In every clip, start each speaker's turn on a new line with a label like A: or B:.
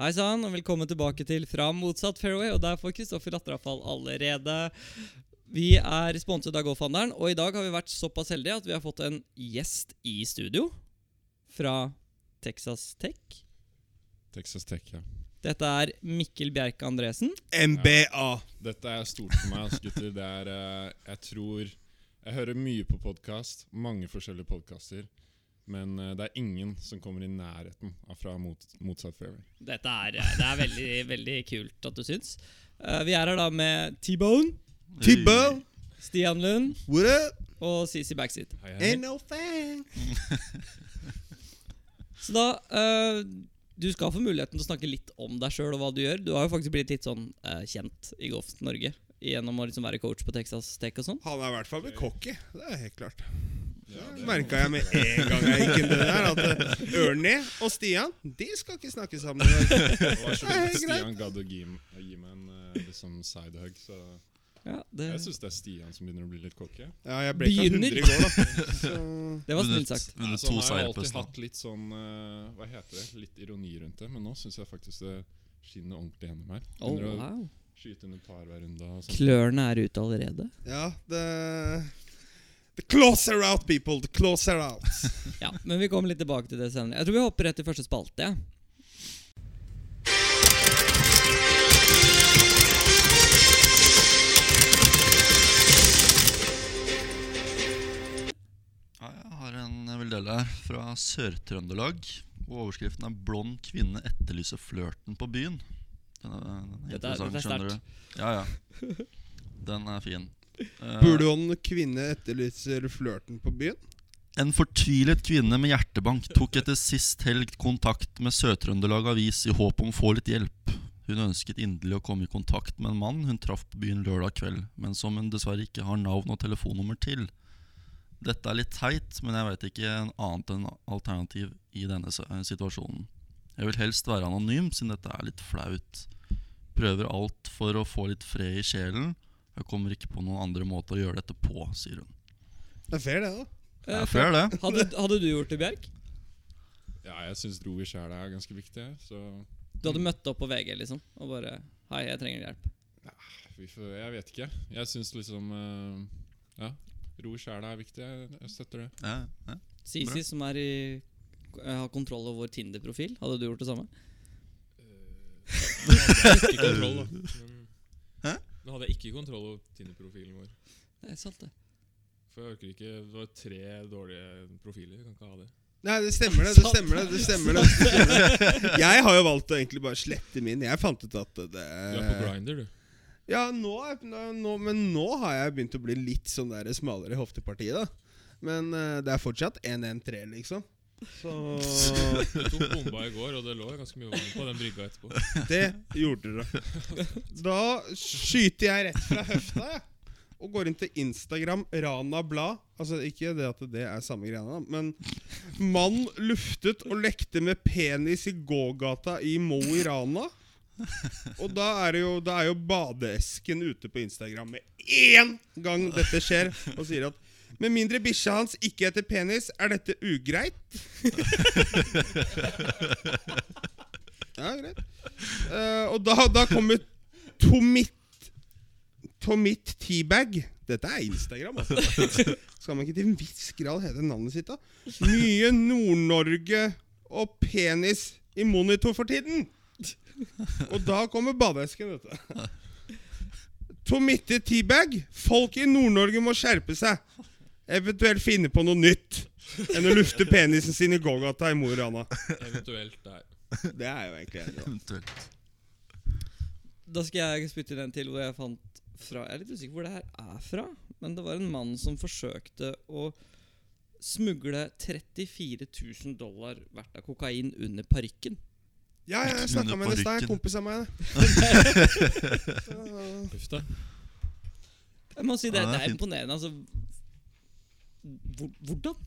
A: Hei sann, og velkommen tilbake til Fra motsatt fairway. Og der får Kristoffer Latterafall allerede. Vi er sponset av Golfhandelen, og i dag har vi vært såpass heldige at vi har fått en gjest i studio fra Texas Tech.
B: Texas Tech, ja.
A: Dette er Mikkel Bjerke Andresen.
C: MBA.
B: Dette er stort for meg, ass, gutter. Det er eh, Jeg tror Jeg hører mye på podkast, mange forskjellige podkaster. Men eh, det er ingen som kommer i nærheten av fra mot, motsatt fairway.
A: Dette er, eh, det er veldig, veldig kult at du syns. Eh, Vi er her da med T-Bone,
C: T-Bone,
A: Stian Lund
C: what up?
A: og CC Backseat.
B: Hei,
C: Ain't no thing.
A: Så da eh, Du skal få muligheten til å snakke litt om deg sjøl og hva du gjør. Du har jo faktisk blitt litt sånn eh, kjent i Golf Norge gjennom å liksom være coach på Texas Tech og sånn.
C: Han er i hvert fall blitt cocky. Det er helt klart. Det merka jeg med en gang jeg gikk inn det der, at eh, Ernie og Stian de skal ikke snakke sammen. i dag.
B: Vær så
C: Hei,
B: god. Stian
C: greit.
B: gadd å gi, å gi meg en eh, liksom sidehug, så
A: Ja, det,
B: jeg syns det er Stian som begynner å bli litt cocky.
C: Ja, jeg ble ikke
A: Begynner.
C: 100 i går, da. Så
A: det var snilt sagt.
B: Nei,
D: Under
B: så
D: to
B: Altså, han har jo
D: seire på
B: alltid
D: stand.
B: hatt litt sånn eh, Hva heter det? Litt ironi rundt det, men nå syns jeg faktisk det skinner ordentlig gjennom her.
A: Oh,
B: Begynner å
D: Sånn.
A: wow.
B: skyte under par hver runde. og sånn. sånt.
A: Klørne er ute allerede.
C: ja, det The claws are out, people. The claws are out.
A: Ja, Men vi kommer litt tilbake til det senere. Jeg tror vi hopper rett til første spalte. Ja.
D: Ja, jeg har en eh, veldel her fra Sør-Trøndelag. Og overskriften er 'Blond kvinne etterlyser flørten på byen'. Den er, den er
A: Dette er-
D: interessant,
A: dette er
D: skjønner du. Ja, ja. Den er fin. Eh,
C: Burdeon kvinne etterlyser flørten på byen.
D: En fortvilet kvinne med hjertebank tok etter sist helg kontakt med Sør-Trøndelag Avis i håp om å få litt hjelp. Hun ønsket inderlig å komme i kontakt med en mann hun traff på byen lørdag kveld, men som hun dessverre ikke har navn og telefonnummer til. Dette er litt teit, men jeg veit ikke en annet enn alternativ i denne s- eh, situasjonen. Jeg vil helst være anonym, siden dette er litt flaut. Prøver alt for å få litt fred i sjelen. Jeg kommer ikke på noen andre måter å gjøre dette på, sier hun.
C: Det er fair, det, da.
A: Eh,
D: Det er fair, det.
A: Hadde, hadde du gjort det, Bjerk?
B: Ja, jeg syns ro i sjela er ganske viktig. Så
A: Du hadde møtt opp på VG liksom og bare Hei, jeg trenger hjelp.
B: vi får, jeg vet ikke. Jeg syns liksom eh, Ja, ro i sjela er viktig. Jeg, jeg støtter det.
D: Ja, ja.
A: Sisi,
D: Bra.
A: som er i, har kontroll over vår Tinder-profil, hadde du gjort det samme?
E: Eh, Nå hadde jeg ikke kontroll, da.
D: Hæ?
E: Nå hadde jeg ikke kontroll over Tinder-profilen vår.
A: Det er sant, det.
E: For jeg orker ikke Det var tre dårlige profiler. Vi kan ikke ha det.
C: Nei, det stemmer det. det stemmer det, det stemmer det, det stemmer det. Jeg har jo valgt å egentlig bare slette min. Jeg fant ut at det
E: Du er på
C: Eh.
E: grinder, du.
C: Ja, nå, er- nå, nå, men nå har jeg begynt å bli litt sånn der smalere i hoftepartiet, da. Men eh, det er fortsatt 1-1-3, liksom. Så
E: Du tok bomba i går, og det lå ganske mye vann på den brygga etterpå.
C: det gjorde dere. Da skyter jeg rett fra høfta, jeg. Og går inn til Instagram, Rana Blad. Altså, ikke det at det er samme greiene, da, men Mann luftet og lekte med penis i gågata i Mo i Rana. Og da er, det jo, da er jo badeesken ute på Instagram med én gang dette skjer, og sier at med mindre bikkja hans ikke heter penis, er dette ugreit. ja, greit. Eh, og da, da kommer Tomit Tomit Teabag. Dette er Instagram, altså. Skal man ikke til en viss grad hete navnet sitt, da? Mye Nord-Norge og penis i monitor for tiden. Og da kommer badeesken, vet du. Tomitte Teabag. Folk i Nord-Norge må skjerpe seg. Eventuelt finne på noe nytt enn å lufte penisen sin i gågata i Mo i Rana.
E: Eventuelt der.
C: Det er jo egentlig enig, da.
D: Eventuelt.
A: Da skal jeg spytte inn en til hvor jeg fant fra Jeg er litt usikker hvor det her er fra, men det var en mann som forsøkte å smugle 34 000 dollar verdt av kokain under parykken.
C: Ja, ja, jeg snakka med henne i stad.
D: Under
C: En kompis av meg.
E: Uff da.
A: Jeg må si det,
D: Ja, det er
A: det er
D: fint.
A: imponerende. Altså hvor, Hvordan?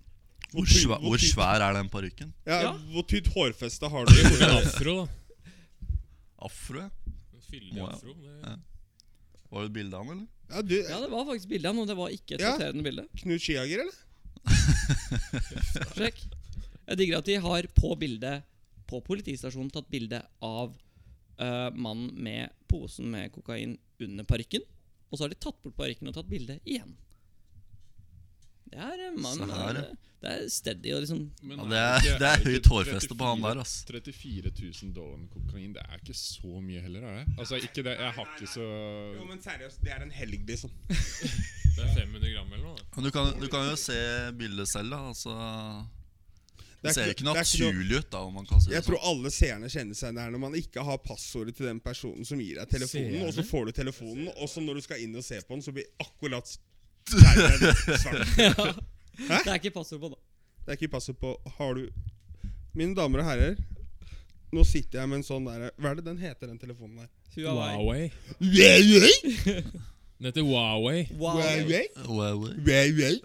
D: Hvor,
C: ty-
D: svæ-
C: hvor
D: hvor
C: ty-
D: svær er den parykken?
C: Ja,
A: Ja.
C: Hvor tynt hårfeste har du?
E: Det er en afro, da.
D: Afro, ja.
E: En Fyldig
D: Wow.
E: afro. Det
D: Ja. Var det et bilde av han, eller?
C: Ja, du,
A: Ja, det var faktisk bilde av noe. Det var ikke et
C: Ja.
A: flatterende bilde.
C: Knut Skiager, eller?
A: Sjekk. Jeg digger at de har på bildet på politistasjonen tatt bilde av eh, mannen med posen med kokain under parykken. Og så har de tatt bort parykken og tatt bilde igjen. Det er eh, mann,
D: Se her, ja.
A: det, det er steady og liksom
B: Men
D: Ja, det er,
B: ikke-
D: det er
B: ikke
D: høyt hårfeste på han
B: 34
D: der, ass.
B: 34 000 dollar med kokain, det er ikke så mye heller, er det? Altså, ikke det, jeg har ikke så
C: Jo, men seriøst, det er en helg, liksom.
E: Det er 500 gram eller noe.
D: Men du kan, du kan jo se bildet selv, da. Altså,
C: er
D: det ser jo
C: ikke-
D: ikke
C: det er ikke noe-
D: naturlig ut, da, om man kan si det
C: Jeg
D: sånn.
C: tror alle seerne kjenner seg der når man ikke har passordet til den personen som gir deg telefonen, og så får du telefonen, og så når du skal inn og se på den, så blir akkurat s- skjermen svart.
A: Det er ikke passord på, da.
C: Det er ikke passord på Har du Mine damer og herrer, nå sitter jeg med en sånn derre Hva er det den heter, den telefonen der?
A: Huawei.
C: Huawei?
E: Den heter Huawei.
A: Wow.
C: Huawei?
D: Huawei.
C: Huawei?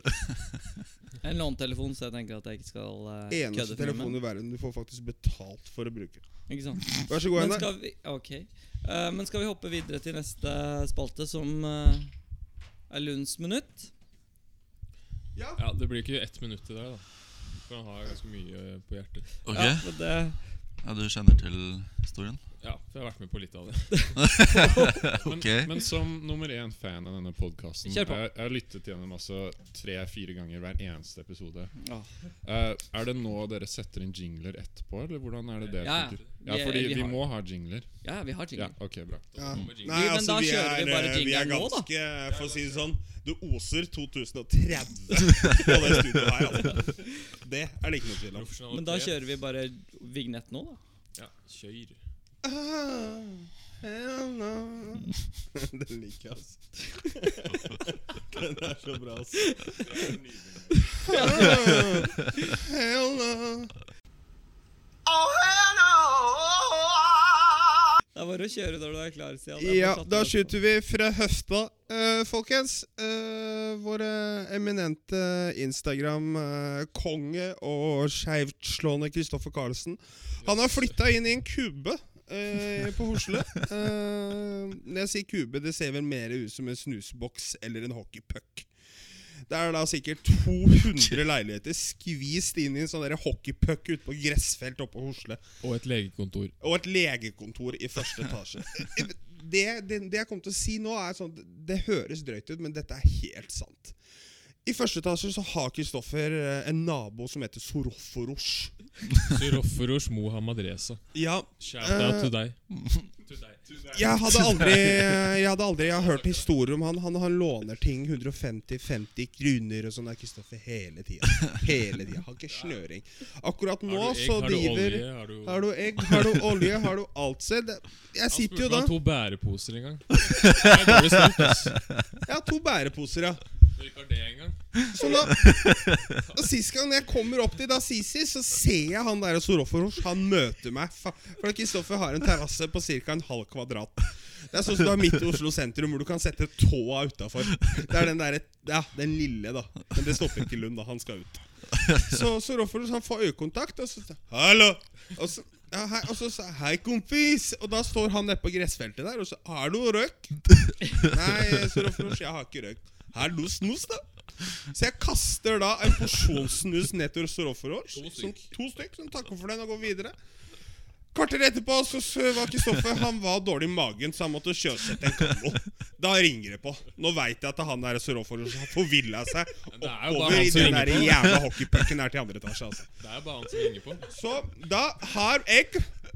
A: En låntelefon, så jeg tenker at jeg ikke skal uh,
C: Eneste
A: kødde for mye
C: telefonen
A: med.
C: i verden du får faktisk betalt for å bruke.
A: den. Ikke sant?
C: Vær så god,
A: Men
C: Einar.
A: skal vi Ok. Eh, men skal vi hoppe videre til neste spalte, som eh, er Lunds minutt?
E: Ja, Det blir ikke ett minutt til deg, da. For han har ganske mye eh, på hjertet.
D: Ok,
A: Ja, men det,
D: ja, du kjenner til historien?
E: Ja, for jeg har vært med på litt av det.
D: Ok.
B: Men som nummer én fan av denne podkasten
A: Kjør
B: Jeg
A: på.
B: jeg har lyttet til den altså tre-fire ganger hver eneste episode.
A: Ja.
B: Eh, er det nå dere setter inn jingler etterpå, eller hvordan er det det
A: Ja, ja.
B: funker?
A: Vi
B: Ja,
A: er-
B: fordi
A: vi
B: vi
A: har-
B: må ha jingler.
A: ja, vi har
B: Ja,
A: jingle.
B: ok, bra.
C: Ja. Nei,
A: Men
C: altså,
A: da
C: vi
A: kjører
C: er,
A: vi bare
C: eh, vi er
A: jingeren nå, da.
C: ganske, for å si det sånn Det oser 2030 på det studioet her. Altså. Det er det ikke noe tvil om.
E: Profesjonalitet.
A: Men da kjører vi bare vignett nå, da.
E: Ja, kjør.
C: Ah, hell no. Den liker jeg, altså. Den er så bra, altså. Ah, Hell no.
A: Det er bare å kjøre når du er klar, Stian. Jeg
C: Ja,
A: bare satte
C: da
A: den på.
C: skyter vi fra høfta, eh, folkens. Eh, våre eminente Instagram-konge og skeivtslående Kristoffer Carlsen. Han har flytta inn i en kube eh, på Hosle. Eh, når jeg sier kube, det ser vel mer ut som en snusboks eller en hockeypuck. Det er da sikkert 200 leiligheter skvist inn i en sånn der hockeypuck ute på gressfelt oppe på Hosle.
E: Og et legekontor.
C: Og et legekontor i første etasje. Det, det, det jeg kommer til å si nå, er sånn Det høres drøyt ut, men dette er helt sant. I første etasje så har Kristoffer eh, en nabo som heter Soroforos.
E: Syroforos Mohammed Reza.
C: Ja,
E: Shout
C: Eh.
E: out to deg. To deg.
C: jeg hadde aldri eh, Jeg hadde aldri jeg har hørt historier om han. Han, han låner ting 150-50 kroner og sånn. Det er Kristoffer hele tida. Hele tida. Har ikke snøring. Akkurat nå
E: Har du egg,
C: så
E: har du
C: driver
E: olje, har du
C: Har du egg, har du olje, har du alt selv? Jeg
E: Han
C: sitter jo
E: spurte
C: da
E: meg om to bæreposer en gang. Det er dårlig start, ass.
C: Jeg har to bæreposer, ja.
E: Ikke har det en gang.
C: Så nå og Sist gang jeg kommer opp til Dasisi, så ser jeg han der Soroforos. Han møter meg. Fa- For Kristoffer har en terrasse på ca. en halv kvadrat. Det er sånn som du har midt i Oslo sentrum, hvor du kan sette tåa utafor. Det er den derre Ja, den lille, da. Men det stopper ikke Lund, da. Han skal ut. Så Soroforos han får øyekontakt, og så sier han, 'hallo'. Og så ja, hei, og så sa jeg 'hei, kompis', og da står han nede på gressfeltet der og så 'har du røyk?' Nei, Soroforos, jeg har ikke røykt. 'Har du snus, da?' Så jeg kaster da en porsjonssnus ned til Soroforos.
E: To
C: Som,
E: stykk.
C: to stykk. Som takker for den og går videre. Kvarter etterpå så så var Kristoffer Han var dårlig i magen, så han måtte sjøsette en kano. Da ringer det på. Nå veit jeg at han der Soroforos har forvilla seg
E: Men det er jo bare
C: oppover i
E: han som
C: den
E: ringer
C: der
E: på.
C: jævla hockeypucken her til andre etasje. altså
E: Det er bare han som ringer på.
C: så da har jeg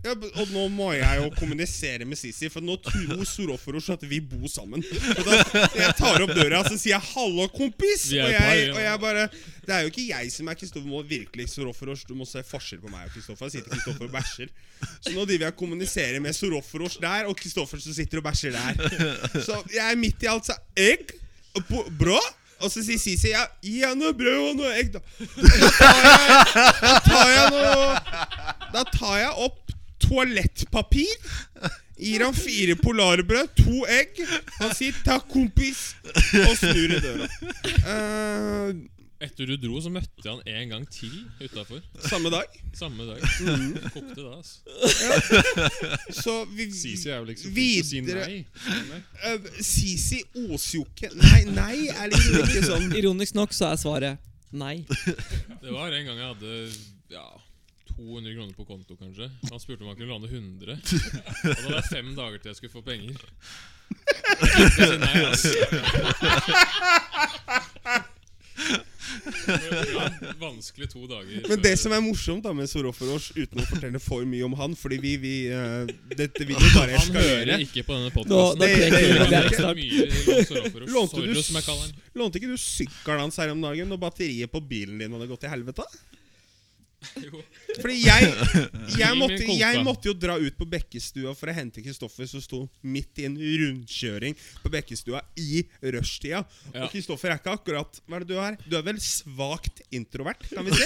C: ja, b- Og nå må jeg jo kommunisere med Sisi, for nå tror Soroforos at vi bor sammen. Og da, jeg tar opp døra og sier jeg 'hallo, kompis'.
E: Vi er
C: Og
E: et par,
C: jeg,
E: ja.
C: og jeg bare Det er jo ikke jeg som er Kristoffer. Du må virkelig Soroforos Du må se forskjell på meg og Kristoffer. Jeg Sitter Kristoffer og bæsjer. Så nå driver jeg og kommuniserer med Soroforos der, og Kristoffer som sitter og bæsjer der. Så jeg er midt i alt, så jeg og på- Bra? Og så sier Sisi ja, gi han noe brød og noe egg, da. Da tar jeg noe Da tar jeg opp toalettpapir. Gir han fire polarbrød, to egg. Han sier 'takk, kompis', og snur i døra. Eh,
E: Etter du dro, så møtte jeg han en gang til utafor.
C: samme dag.
E: Samme dag.
C: Mhm.
E: Kokte da, ass.
C: Så vi,
B: Sisi er jo liksom flink til å si
C: Videre.
B: nei.
C: eh, Sisi oser jo ikke. Nei, nei er liksom ikke sånn.
A: Ironisk nok så er svaret nei.
E: Det var en gang jeg hadde ja, 200 kroner på konto, kanskje. Han spurte om han kunne låne 100. Og da var det fem dager til jeg skulle få penger. Jeg sa nei, ass. Det var Vanskelig to dager.
C: Men det som er morsomt da med Soroforos, uten å fortelle for mye om han Fordi vi, vi eh, Dette vil jo bare
E: Han hører
C: eskalere.
E: ikke på denne
A: Nå-
E: podkasten.
A: nå
C: det- det-
A: knekker vi
C: det-
A: det snart.
C: Lånte du
E: Sorro, som jeg kaller den.
C: Lånte ikke du sykkelen hans her om dagen når batteriet på bilen din hadde gått til helvete?
E: Jo.
C: Fordi jeg, jeg,
E: Gi meg
C: måtte,
E: kolka.
C: jeg måtte jo dra ut på Bekkestua for å hente Kristoffer, som sto midt i en rundkjøring på Bekkestua i rushtida.
E: Ja.
C: Og Kristoffer er ikke akkurat Hva er det du er? Du er vel svakt introvert, kan vi si?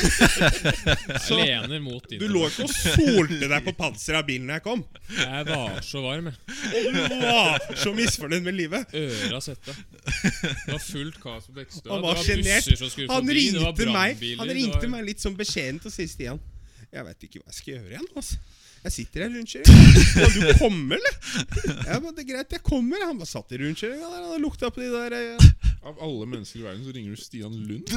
C: Så
E: Lener mot
C: du lå
E: internett.
C: ikke og solte deg på panseret av bilen da jeg kom.
E: Jeg var så varm, jeg.
C: Og du var så misfornøyd med livet.
E: Øra svetta. Det var fullt kaos på Bekkestua.
C: Han
E: Det
C: var sjenert.
E: busser som skulle
C: Han
E: forbi, det var
C: ringte meg
E: brannbiler,
C: Han
E: det
C: ringte
E: var-
C: meg litt sånn beskjedent og sier Stian Jeg veit ikke hva jeg skal gjøre igjen. altså Jeg sitter her i rundkjøringen. Kan du komme, eller? Jeg bare, det er greit, jeg kommer. Han bare satt i rundkjøringa der. Han hadde lukta på de der eh,
B: Av alle mennesker i verden så ringer du Stian Lund.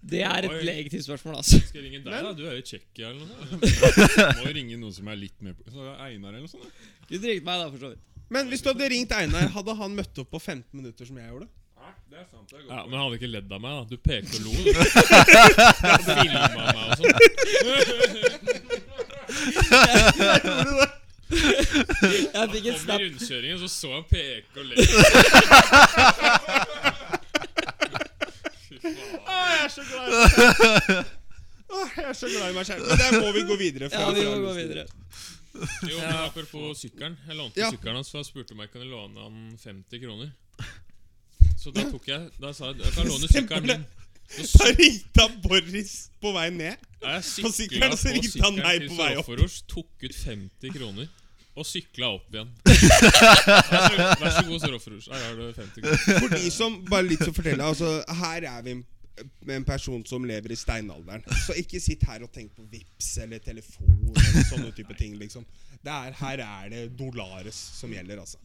A: Det er et
E: Oi.
A: legitimt spørsmål, altså.
E: Skal jeg ringe deg, da? Du er jo i Tsjekkia eller noe.
B: Må ringe noen som er litt mer på Så er det Einar eller noe sånt. da.
A: Du ringte meg, da, for så vidt.
C: Men hvis du hadde ringt Einar, hadde han møtt opp på 15 minutter som jeg gjorde?
E: Ja, Men han hadde ikke ledd av meg, da. Du pekte og lo. du. Han filmet meg og sånn.
A: Jeg fikk en
E: Kom i
A: snap
E: rundkjøringen, så så han peke og le. Fy faen.
C: Å, jeg er så glad i meg selv. Å, jeg er så glad i meg selv. Men der må vi gå videre. fra-
A: Ja, vi må
C: fra-
A: gå videre.
E: Jo, men Apropos sykkelen. Jeg lånte
C: Ja.
E: sykkelen hans, for han spurte om jeg kunne låne han 50 kroner. Så da tok jeg Da sa jeg jeg kan låne sykkelen min. Så
C: Da ringte han Boris på vei ned.
E: Jeg
C: På sykkelen,
E: sykla
C: og så ringte han meg på vei opp.
E: Soroforos, tok ut 50 kroner og sykla opp igjen. Vær så, vær så god, Soroforos. Her har du 50 kroner.
C: For de som Bare litt å fortelle. Altså, her er vi en- med en person som lever i steinalderen. Så ikke sitt her og tenk på VIPs eller telefon eller sånne type ting, liksom. Det er, her er det Dolares som gjelder, altså.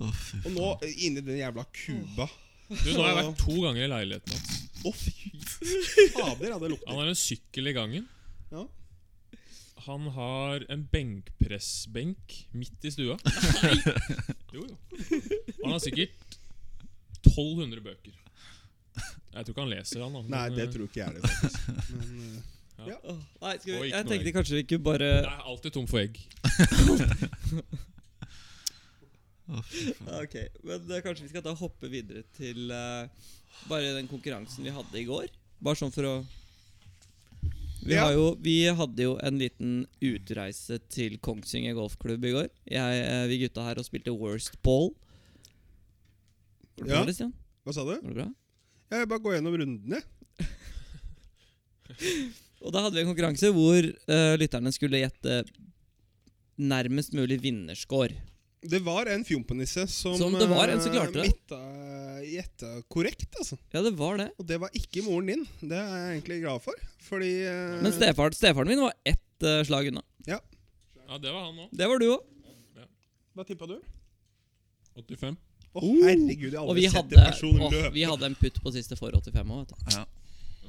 C: Og nå, inni den jævla Cuba
E: Du, nå har jeg vært to ganger i leiligheten hans.
C: Å, fy fader, ja, det
E: Han
C: lukter.
E: har en sykkel i gangen.
C: Ja.
E: Han har en benkpressbenk midt i stua. Jo, jo. Han har sikkert 1200 bøker. Jeg tror ikke han leser, han. da,
C: Nei,
E: men,
C: det
E: eh,
C: tror ikke jeg liksom. det, faktisk. Men, eh,
A: Åh, Nei, skal
E: Og
A: vi,
E: ikke
A: jeg
E: noe
A: tenkte
E: egg.
A: kanskje vi kunne bare
E: jeg er alltid tom for egg.
A: Ok, men eh, kanskje vi skal da hoppe videre til eh, bare den konkurransen vi hadde i går. Bare sånn for å vi,
C: Ja.
A: har jo, vi hadde jo en liten utreise til Kongsvinger golfklubb i går. Jeg, eh, vi gutta her og spilte worst ball. Går det
C: Ja.
A: bra, eller, Stian?
C: hva sa du?
A: Går det bra?
C: Jeg bare gå gjennom rundene.
A: Og da hadde vi en konkurranse hvor eh, lytterne skulle gjette nærmest mulig vinnerscore.
C: Det var en fjompenisse som,
A: Som det var en som
C: eh,
A: klarte det.
C: mitta- Gjetta korrekt, altså.
A: Ja, det var det.
C: Og det var ikke moren din. Det er jeg egentlig glad for. Fordi eh,
A: Men stefaren, stefaren min var ett eh, slag unna.
E: Ja, det var han òg.
A: Det var du òg.
C: Hva tippa du?
B: 85.
C: Å, herregud, jeg har
A: Og vi
C: aldri sett
A: hadde,
C: en person
A: åh,
C: løpe.
A: vi hadde en putt på siste for 85 òg, vet du.
B: Ja,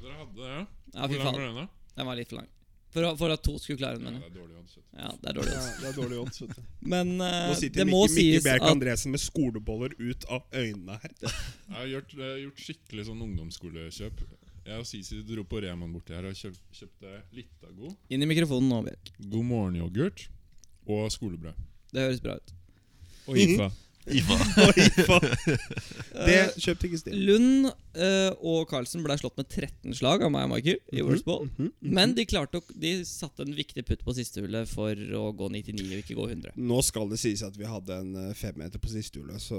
B: dere hadde det, ja?
A: Ja, fy
B: Hvor lang
A: faen.
B: var den, da?
A: Den var litt for lang. For, å- for at to skulle klare den,
B: Ja,
A: mener jeg.
B: det er dårlig odds. vet du.
A: Ja, det er dårlig.
C: Ja,
A: altså.
C: det er dårlig odds. vet du.
A: Men eh,
C: Nå sitter
A: det må
C: Mikke, Mikke
A: sies
C: Bjerk
A: at
C: Andresen med skoleboller ut av øynene her.
B: Jeg har gjort, eh, gjort skikkelig sånn ungdomsskolekjøp. Jeg og Sisi dro på Reman borti her og kjøp, kjøpte Litago,
A: Inn i mikrofonen nå, Bjerk.
B: God morgen-yoghurt og skolebrød.
A: Det høres bra ut.
E: Og IFA.
D: Iva.
C: Oi, faen. Det kjøpte ikke Stian.
A: Eh, Lund eh, og Carlsen ble slått med 13 slag av meg og Michael
C: Mhm,
A: i worst ball. Men de klarte å De satte en viktig putt på siste hullet for å gå 99 og ikke gå 100.
C: Nå skal det sies at vi hadde en eh, femmeter på siste hjulet, så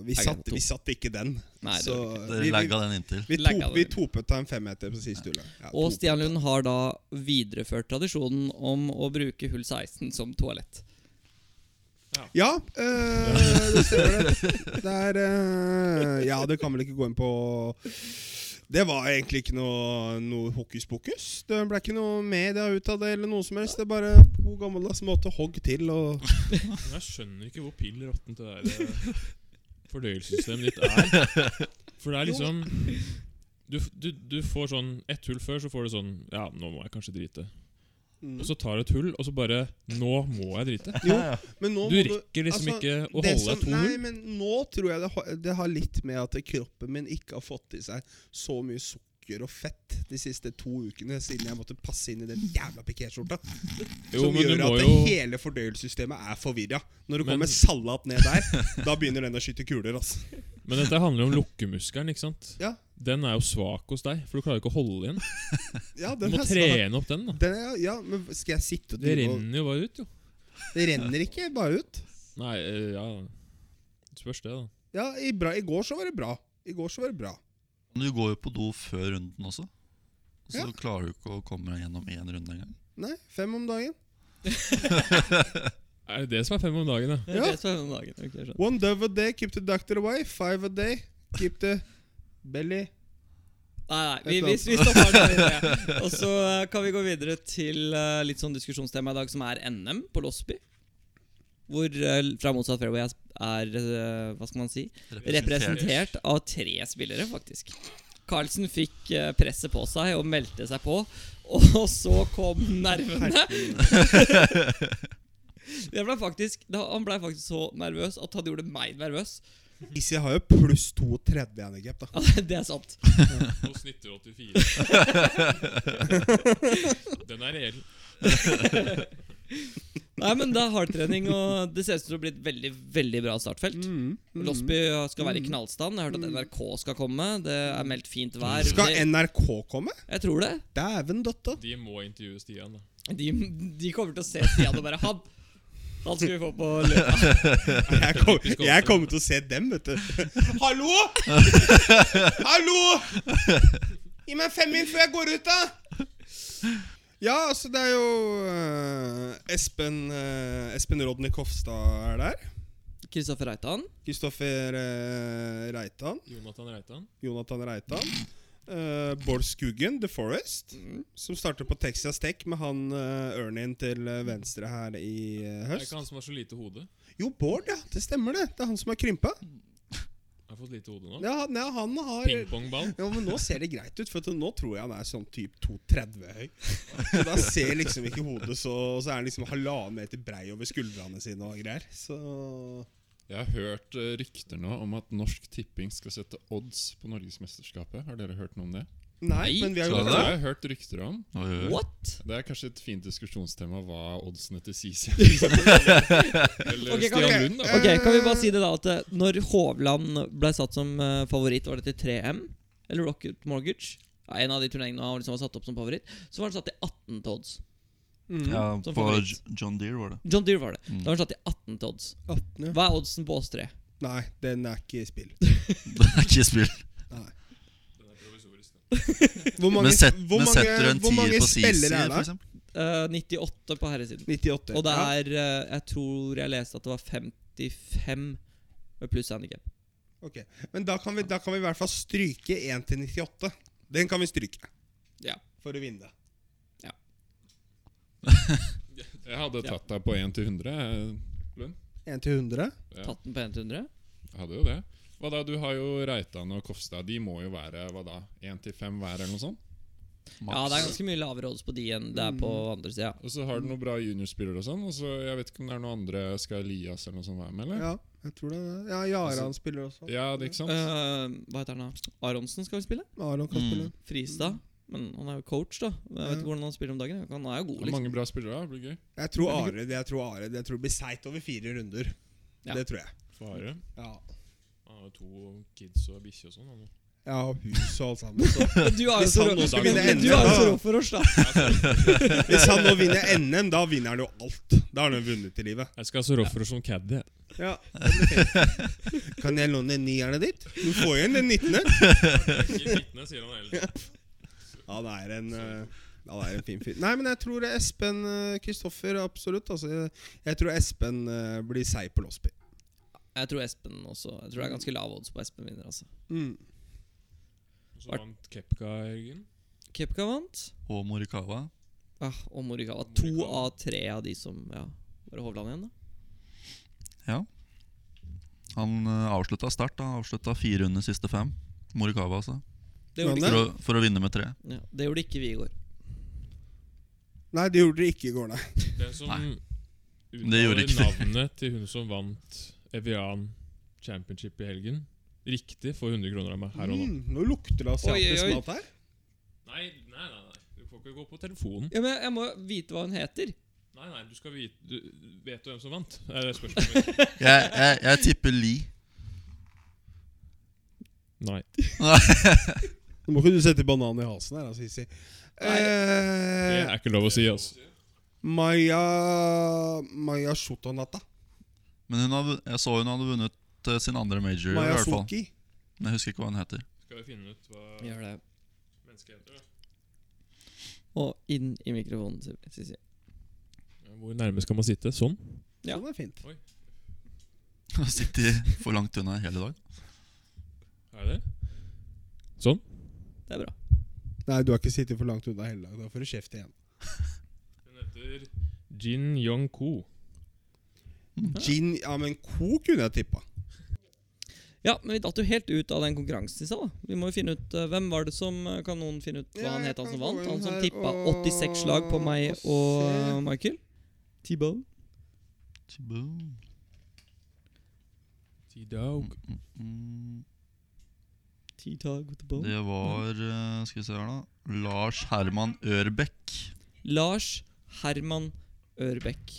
C: vi
A: Jeg
C: satt,
A: tok.
C: vi satt ikke den.
A: Nei, det
C: så
A: gjorde
D: Dere
C: vi, vi,
D: legga den inntil.
C: vi,
A: Legga
C: top,
A: det.
C: vi topet av en femmeter på siste hjulet. Ja,
A: Og
C: topet.
A: Stian Lund har da videreført tradisjonen om å bruke hull 16 som toalett.
C: Ja, øh, det stemmer det. Det er øh, Ja, det kan vel ikke gå inn på Det var egentlig ikke noe, noe hokus pokus. Det ble ikke noe media ut av det, eller noe som helst. Det er bare på god gammeldags måte hogg til og
E: Men jeg skjønner ikke hvor pill råttent det der eh, fordøyelsessystemet ditt er. For det er liksom du, du, du får sånn ett hull før, så får du sånn Ja, nå må jeg kanskje drite.
C: Mm.
E: og så tar du et hull, og så bare Nå må jeg drite.
C: Jo, men nå
E: Du
C: må
E: rekker liksom
C: altså,
E: ikke å
C: det
E: holde
C: som-
E: deg to
C: Nei,
E: hull.
C: men nå tror jeg det, har- det har litt med at kroppen min ikke har fått i seg så mye sukker og fett de siste to ukene, siden jeg måtte passe inn i den jævla pikéskjorta.
E: Jo,
C: Som
E: men du
C: gjør
E: må
C: at
E: jo
C: hele fordøyelsessystemet er forvirra. Når det
E: Men-
C: kommer salat ned der, da begynner den å skyte kuler. Altså.
E: Men dette handler om lukkemuskelen, ikke sant?
C: Ja.
E: Den er jo svak hos deg, for du klarer ikke å holde igjen.
C: Ja,
E: Du
C: den
E: må
C: er svak.
E: trene opp den, da.
C: Den er, ja, men skal jeg sitte og
E: Det
C: drive og
E: renner jo bare ut, jo.
C: Det renner ikke bare ut.
E: Nei, eh, ja Det Spørs det, da.
C: Ja, i, bra, I går så var det bra. I går så var det bra.
D: Men Du går jo på do før runden også. Så
C: Ja.
D: du klarer jo ikke å komme deg gjennom én runde engang.
C: Nei, fem om dagen.
E: Er det det som er fem om dagen, da?
A: Det er
C: Ja.
A: det som er denne dagen. Ok, jeg skjønner.
C: One dove a day, keep the doctor away. Five a day, keep the belly
A: Nei, nei, vi,
C: Et
A: vi, vi stopper den videre. Og så eh, kan vi gå videre til eh, litt sånn diskusjonstema i dag, som er NM på Losby. Hvor eh, fra motsatt fairway er, er eh, hva skal man si, representert av tre spillere, faktisk. Carlsen fikk eh, presset på seg og meldte seg på, og så kom nervene. Det ble faktisk, da, han ble faktisk så nervøs at han gjorde meg nervøs.
C: Isi har jo pluss 32 handicap, da.
A: Det er sant.
E: Og snitter 84. Den er reell.
A: Nei, men det er hardtrening, og det ser ut som det blir et veldig veldig bra startfelt.
C: Mm,
A: Losby skal være i knallstand. Jeg har hørt at NRK skal komme. Det er meldt fint vær.
C: Skal
A: Det-
C: NRK komme?
A: Jeg tror det.
C: Dæven dotta.
E: De må intervjue Stian, da.
A: De, de kommer til å se Stian og bare Han! Han skal vi få på løpet.
C: Jeg, kom, jeg kommer til å se dem, vet du. Hallo! Hallo! Gi meg fem min før jeg går ut, da! Ja, altså, det er jo eh, Espen eh, Espen Rodny Kofstad er der.
A: Kristoffer Reitan.
C: Kristoffer eh, Reitan.
E: Jonathan Reitan.
C: Jonathan Reitan. eh, Bård Skuggen, The Forest, som starter på Texas Tech med han uh, Ernien til eh, venstre her i eh,
E: Er
C: høst.
E: ikke han som har så lite hode?
C: Jo, Bård, ja. Det stemmer, det. Det er han som har krympa.
E: Har fått lite hode nå?
C: Ja, han- ja, han har
E: Pingpongball?
C: ja, men Nå ser det greit ut, for at nå tror jeg han er sånn typ 2,30 høy. Så Da ser liksom ikke hodet så Og så er han liksom halvannen meter brei over skuldrene sine og greier. Så
B: Jeg har hørt eh, rykter nå om at Norsk Tipping skal sette odds på Norgesmesterskapet. Har dere hørt noe om det?
C: Nei, men vi har
D: Skal
C: jo
B: Det
D: det?
B: har jeg hørt rykter om.
D: Oi, oi, oi.
A: What?!
B: Det er kanskje et fint diskusjonstema hva er oddsene til Sisi er. Eller
A: Ok, kan
B: Stian
A: vi-
B: Lund, da.
A: Ok, Kan vi bare si det, da, at eh, når Hovland ble satt som eh, favoritt, var det til 3M? Eller Rocket Mortgage? Ja, en av de turneringene han liksom var satt opp som favoritt. Så var han satt til 18 til odds. Mm.
D: Ja,
A: Som
D: på
A: favoritt.
D: J- John Deere var det.
A: John Deere var det.
D: Mm.
A: Da var han satt til 18 til odds.
C: 18, ja.
A: Hva er oddsen på oss tre?
C: Nei, den er ikke i spill.
D: Mm. Det er ikke spill.
E: Den er provisorisk.
C: Hvor
D: Men, set,
C: hvor
D: men
C: mange-
D: setter du en
C: hvor mange
D: tier på Sisi,
C: spillere er
D: for
C: det?
D: eksempel?
A: Eh, 98 på herresiden.
C: 98.
A: Og det
C: ja.
A: er eh, Jeg tror jeg leste at det var 55 med pluss handikap.
C: Ok, Men da kan, vi, da kan vi i hvert fall stryke 1 til 98. Den kan vi stryke.
A: Ja.
C: For å vinne.
B: Jeg hadde tatt deg på 1 til 100. eh, Lund.
C: 1 til 100.
B: Ja.
A: Tatt den på 1 til 100.
B: Jeg hadde jo det. Hva da, Du har jo Reitan og Kofstad. De må jo være hva da, 1 til 5 hver, eller noe sånt?
A: Ja, det er
D: Maks.
A: ganske mye lavere odds på de enn det er på andre sida.
B: Og så har du noen bra juniorspillere og sånn. Og så Jeg vet ikke om det er noen andre Skal Elias eller noe sånt være med, eller?
C: Ja, jeg tror det. er- Ja, Jaran
A: Altså-
C: spiller også.
B: Ja, det er ikke sant?
A: Eh, hva heter han da? Aronsen skal vi spille?
C: Aron kan
D: Mm.
C: spille.
A: Fristad. Men han er jo coach, da. Jeg vet
C: Ja.
A: ikke hvordan han spiller om dagen. Han er jo god,
B: Det er
A: liksom.
B: Mange bra spillere, det blir gøy.
C: Jeg tror Are Jeg tror Are Jeg tror det blir seigt over fire runder.
A: Ja.
C: Det tror jeg.
E: Fare.
C: Ja.
E: Han har jo to kids og bikkje og sånn. han.
C: Jeg har hus og alt sammen. Så.
A: Du har jo
C: Hvis
A: så
C: han
A: rå-
C: nå skulle vinne
A: men du
C: NM,
A: har jo så
C: da.
A: rå for oss, da.
C: Hvis han nå vinner NM, da vinner han jo alt. Da har han jo vunnet i livet.
E: Jeg skal ha så roffere som caddy. jeg.
C: Ja, det blir fint. Kan jeg låne nierne ditt? Du får igjen den 19.
E: Ikke vitne, sier han hele tiden.
C: Han er en eh, han er en fin fyr. Nei, men jeg tror Espen eh, Kristoffer absolutt. Altså, jeg, jeg tror Espen eh, blir seig på Losby.
A: Jeg tror Espen også Jeg tror det er ganske lav odds på Espen vinner, altså.
C: Mm.
E: Så vant Kepka Jørgen.
A: Kepka vant.
D: Og Morikawa.
A: Ah, og Morikawa. To
E: Morikawa.
A: av tre av de som Ja, var det Hovland igjen, da?
D: Han eh, avslutta sterkt. da. Avslutta fire under siste fem. Morikawa, altså.
A: Det gjorde,
C: Men
A: ikke,
D: For å, for å vinne med tre.
A: ja, det gjorde ikke vi i går.
C: Nei, det gjorde dere ikke i går, nei.
E: Den som
D: Nei. Det gjorde
E: uttaler
D: ikke det.
E: navnet til hun som vant Evian Championship i helgen, riktig, får 100 kroner av meg her og nå.
C: Mm, nå lukter det asiatisk
A: Oi, oi, oi.
C: mat her.
E: Nei, nei, nei, nei. Du får ikke gå på telefonen.
A: Ja, men jeg må vite hva hun heter.
E: Nei, nei, du skal vite du, Vet du hvem som vant? Det er spørsmålet mitt.
D: Jeg, jeg, jeg tipper Li.
E: Nei.
C: Nå må ikke du sette bananen i halsen her, altså, Hissi.
E: Det
C: Eh,
E: er ikke lov å si, altså.
C: Maya Maya Shotanata.
D: Men hun hadde, jeg så hun hadde vunnet eh, sin andre major. i
C: Maya
D: hvert fall
C: Suki.
D: Men Jeg husker ikke hva hun heter.
E: Skal vi finne ut hva
A: Gjør det.
E: mennesket heter, da?
A: Og inn i mikrofonen. Sissy.
E: Hvor nærme skal man sitte? Sånn?
A: Ja.
C: Sånn er fint.
D: Hun sitter for langt unna hele dag.
E: Er det? Sånn?
A: Det er bra.
C: Nei, du har ikke sittet for langt unna hele dag. Da får du kjeft igjen.
E: Hun heter Jin Yong-ko.
C: Gin Ja, men ko kunne jeg tippa.
A: Ja, men vi datt jo helt ut av den konkurransen i stad. da. Vi må jo finne ut eh, hvem var det som eh, Kan noen finne ut hva
C: Ja,
A: han
C: jeg
A: het, han
C: kan
A: som
C: gå
A: vant?
C: inn
A: Han som
C: her
A: tippa
C: og-
A: 86 slag på meg
C: og
A: og
C: se.
A: eh, Michael? T-Bone.
D: Boom.
E: T-Dog.
D: Mm,
A: T-Tag with the bone.
D: Det var eh, Skal vi se her, da. Lars Herman Ørbekk.
A: Lars Herman Ørbekk.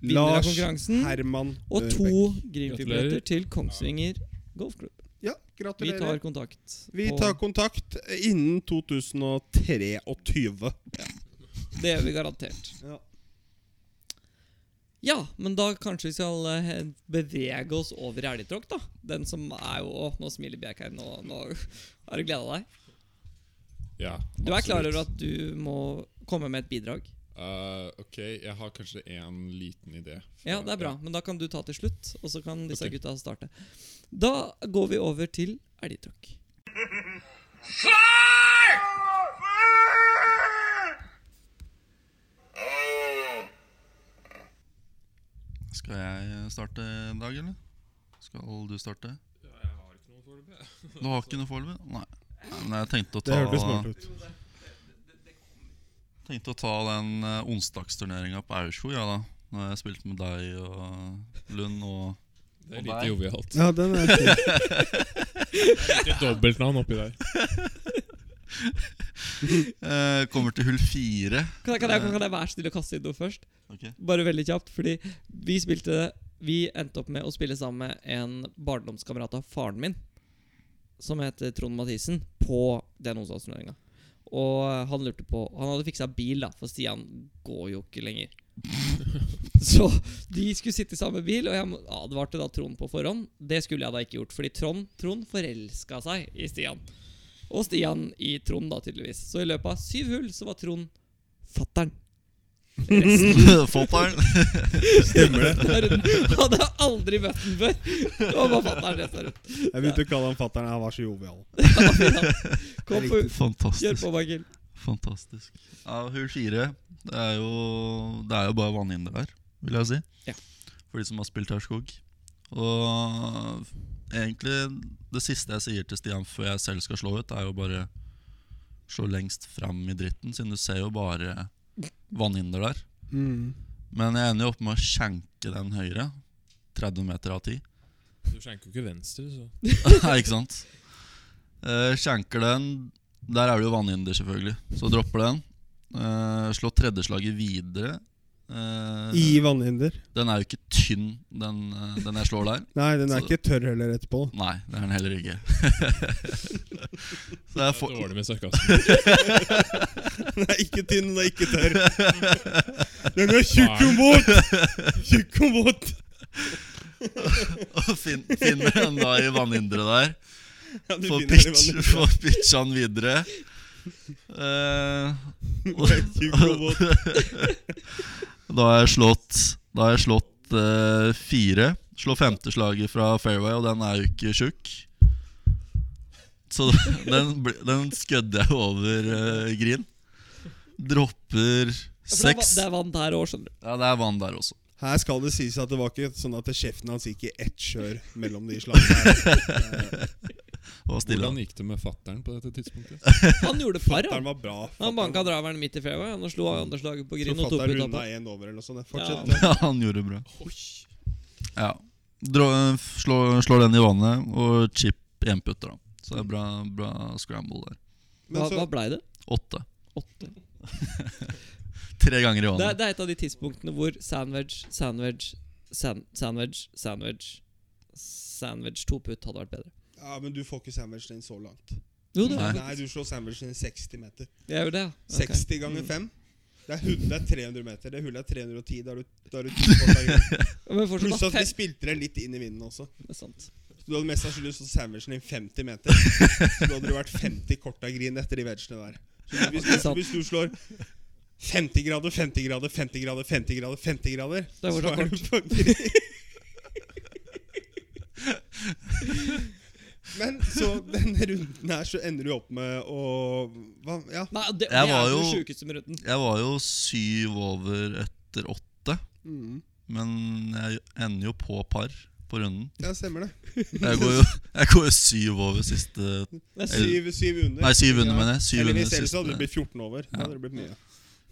A: Vinner av
C: Lars
A: konkurransen.
C: Herman eh,
A: Og
C: Ørbekk.
A: to Grimfib-billetter
E: Gratulerer.
A: til Kongsvinger Golfklubb.
C: Ja,
A: Vi tar
C: gratulerer.
A: kontakt.
C: Vi
A: på-
C: tar kontakt innen 2023.
A: Det gjør vi garantert.
C: Ja.
A: Ja, men da kanskje vi skal eh, bevege oss over i elgtråkk, da. Den som er jo Å, nå smiler Bjerk her. Nå, nå har du gleda deg.
B: Ja,
A: Du er klar
B: absolutt.
A: over at du må komme med et bidrag?
B: Eh, ok, jeg har kanskje en liten idé.
A: Ja, det er bra. Men da kan du ta til slutt, og så kan disse
B: Ok.
A: gutta starte. Da går vi over til elgtråkk.
D: Skal jeg starte i dag, eller? Skal du starte?
E: Jeg har ikke noe foreløpig.
D: Du har ikke noe foreløpig? Nei. Nei, Men jeg tenkte å
C: Det hørtes
D: ta,
C: smart ut.
D: tenkte å ta den uh, onsdagsturneringa på Aurskog, ja da. Når jeg spilte med deg og Lund og
E: Det er
D: Og
E: lite
D: deg.
E: jovialt.
C: Ja, den er fin.
E: Ikke dobbeltnavn oppi der.
D: Eh, Kommer til hull fire.
A: Kan, jeg- kan, jeg, kan jeg være stille og kaste inn noe først?
D: Ok.
A: Bare veldig kjapt, fordi vi spilte Vi endte opp med å spille sammen med en barndomskamerat av faren min, som heter Trond Mathisen, på den onsdagsturneringa. Og han lurte på Han hadde fiksa bil, da, for Stian går jo ikke lenger. Så de skulle sitte i samme bil, og jeg må- advarte da Trond på forhånd. Det skulle jeg da ikke gjort, fordi Trond, Trond forelska seg i Stian. Og Stian i Trond, da, tydeligvis. Så i løpet av syv hull så var Trond fattern. Resten
D: Fåtter'n.
A: av runden. Hadde aldri møtt den før. Og hva fatter han resten av runden?
C: Jeg begynte å kalle han fatter'n. Han var så jovial.
A: Kom på, kjør
D: Fantastisk.
A: på, Michael.
D: Fantastisk. Ja, hull fire det er, jo, det er jo bare vannhinder der, vil jeg si.
A: Ja.
D: For de som har spilt Aurskog. Og egentlig det siste jeg sier til Stian før jeg selv skal slå ut, er jo bare slå lengst fram i dritten, siden du ser jo bare vannhinder der.
C: Mm.
D: Men jeg ender jo opp med å skjenke den høyre. 30 meter av 10.
E: Du skjenker jo ikke venstre, så
D: Nei, ikke sant? Eh, skjenker den Der er det jo vannhinder, selvfølgelig. Så dropper den. Eh, slår tredjeslaget videre. Eh,
C: I vannhinder.
D: Den er jo ikke tynn, den, eh, den jeg slår der.
C: Nei, den er
D: Så-
C: ikke tørr heller etterpå.
D: Nei, det er den heller ikke. Så jeg
E: det
D: får
E: er dårlig med sarkasme.
C: Den er ikke tynn, den er ikke tørr. Den er tjukk og våt! Tjukk og våt!
D: og fin, finner den da i vannhinderet der.
C: Ja, du
D: Får
C: finner den i
D: pitch,
C: vannhinder.
D: får pitcha den videre. Eh,
C: Den er tjukk og våt.
D: Da har jeg slått Da har jeg slått eh, fire. Slår femteslaget fra fairway, og den er jo ikke tjukk. Så den, bli- den skødde jeg over eh, green.
A: For det er
D: Dropper
A: va-
D: seks.
A: Det er vann der òg, skjønner du.
D: Ja, det er vann der også.
C: Her skal det Eh, sies at det var ikke sånn at kjeften hans gikk i ett kjør mellom de slagene. her.
D: Og stille.
B: Hvordan gikk det med fatteren på dette tidspunktet?
A: Han gjorde par, han.
C: Fatteren var bra.
A: Han banka draveren midt i fairway. Han slo Anders laget på
C: Så
A: green og tok
C: fatteren
A: ut
C: runda
A: tappa.
C: én over eller noe sånt. Fortsett.
A: Ja.
D: Ja, han gjorde det bra.
E: Oi.
D: Ja. Dra, slår, slår den i vannet, og chip enputter, da. Så det er bra, bra scramble der.
C: Men
A: Hva,
C: så,
A: hva blei det?
D: Åtte.
A: Åtte?
D: Tre ganger i
A: Det,
D: vannet.
A: er- det er et av de tidspunktene hvor sandwich, sandwich, san, sandwich, sandwich Sandwich to putt hadde vært bedre.
C: ja, men du får ikke sandwichen din så langt.
A: Jo, det
D: Nei.
A: var
C: Nei, du slår sandwichen din 60 meter.
A: Jeg gjorde det, ja. Ok. Mm.
C: 60 ganger 5. Det er, hund- det er 300 meter. Det hullet er 310. Da er du, da er du ti kvarter igjen.
A: Men fortsatt
C: Pluss
A: da,
C: at vi
A: fem.
C: spilte det litt inn i vinden også.
A: Det er sant.
C: Så du hadde mest sannsynlig stått sandwichen din 50 meter. Så da hadde det vært 50 kort av grin etter de vegene der. Så hvis, hvis,
A: sant.
C: hvis du slår 50 grader, 50 grader, 50 grader, 50 grader, 50 grader
A: Det var
C: så
A: så
C: er du på grin. Men så denne runden her så ender du opp med å hva, Ja.
A: Nei, det, det
D: Jeg var
A: er jo
D: jo-
A: sjukeste med runden.
D: Jeg var jo syv over etter åtte,
C: Mm.
D: men jeg ender jo på par på runden.
C: Ja, stemmer det.
D: Jeg går jo, jeg går jo syv over siste
A: Det er sykt.
C: Syv, syv under.
D: Nei, syv under,
C: Ja.
D: mener jeg. Syv under
C: Heldigvis ellers hadde det
D: siste,
C: blitt 14 over. Da hadde det blitt mye.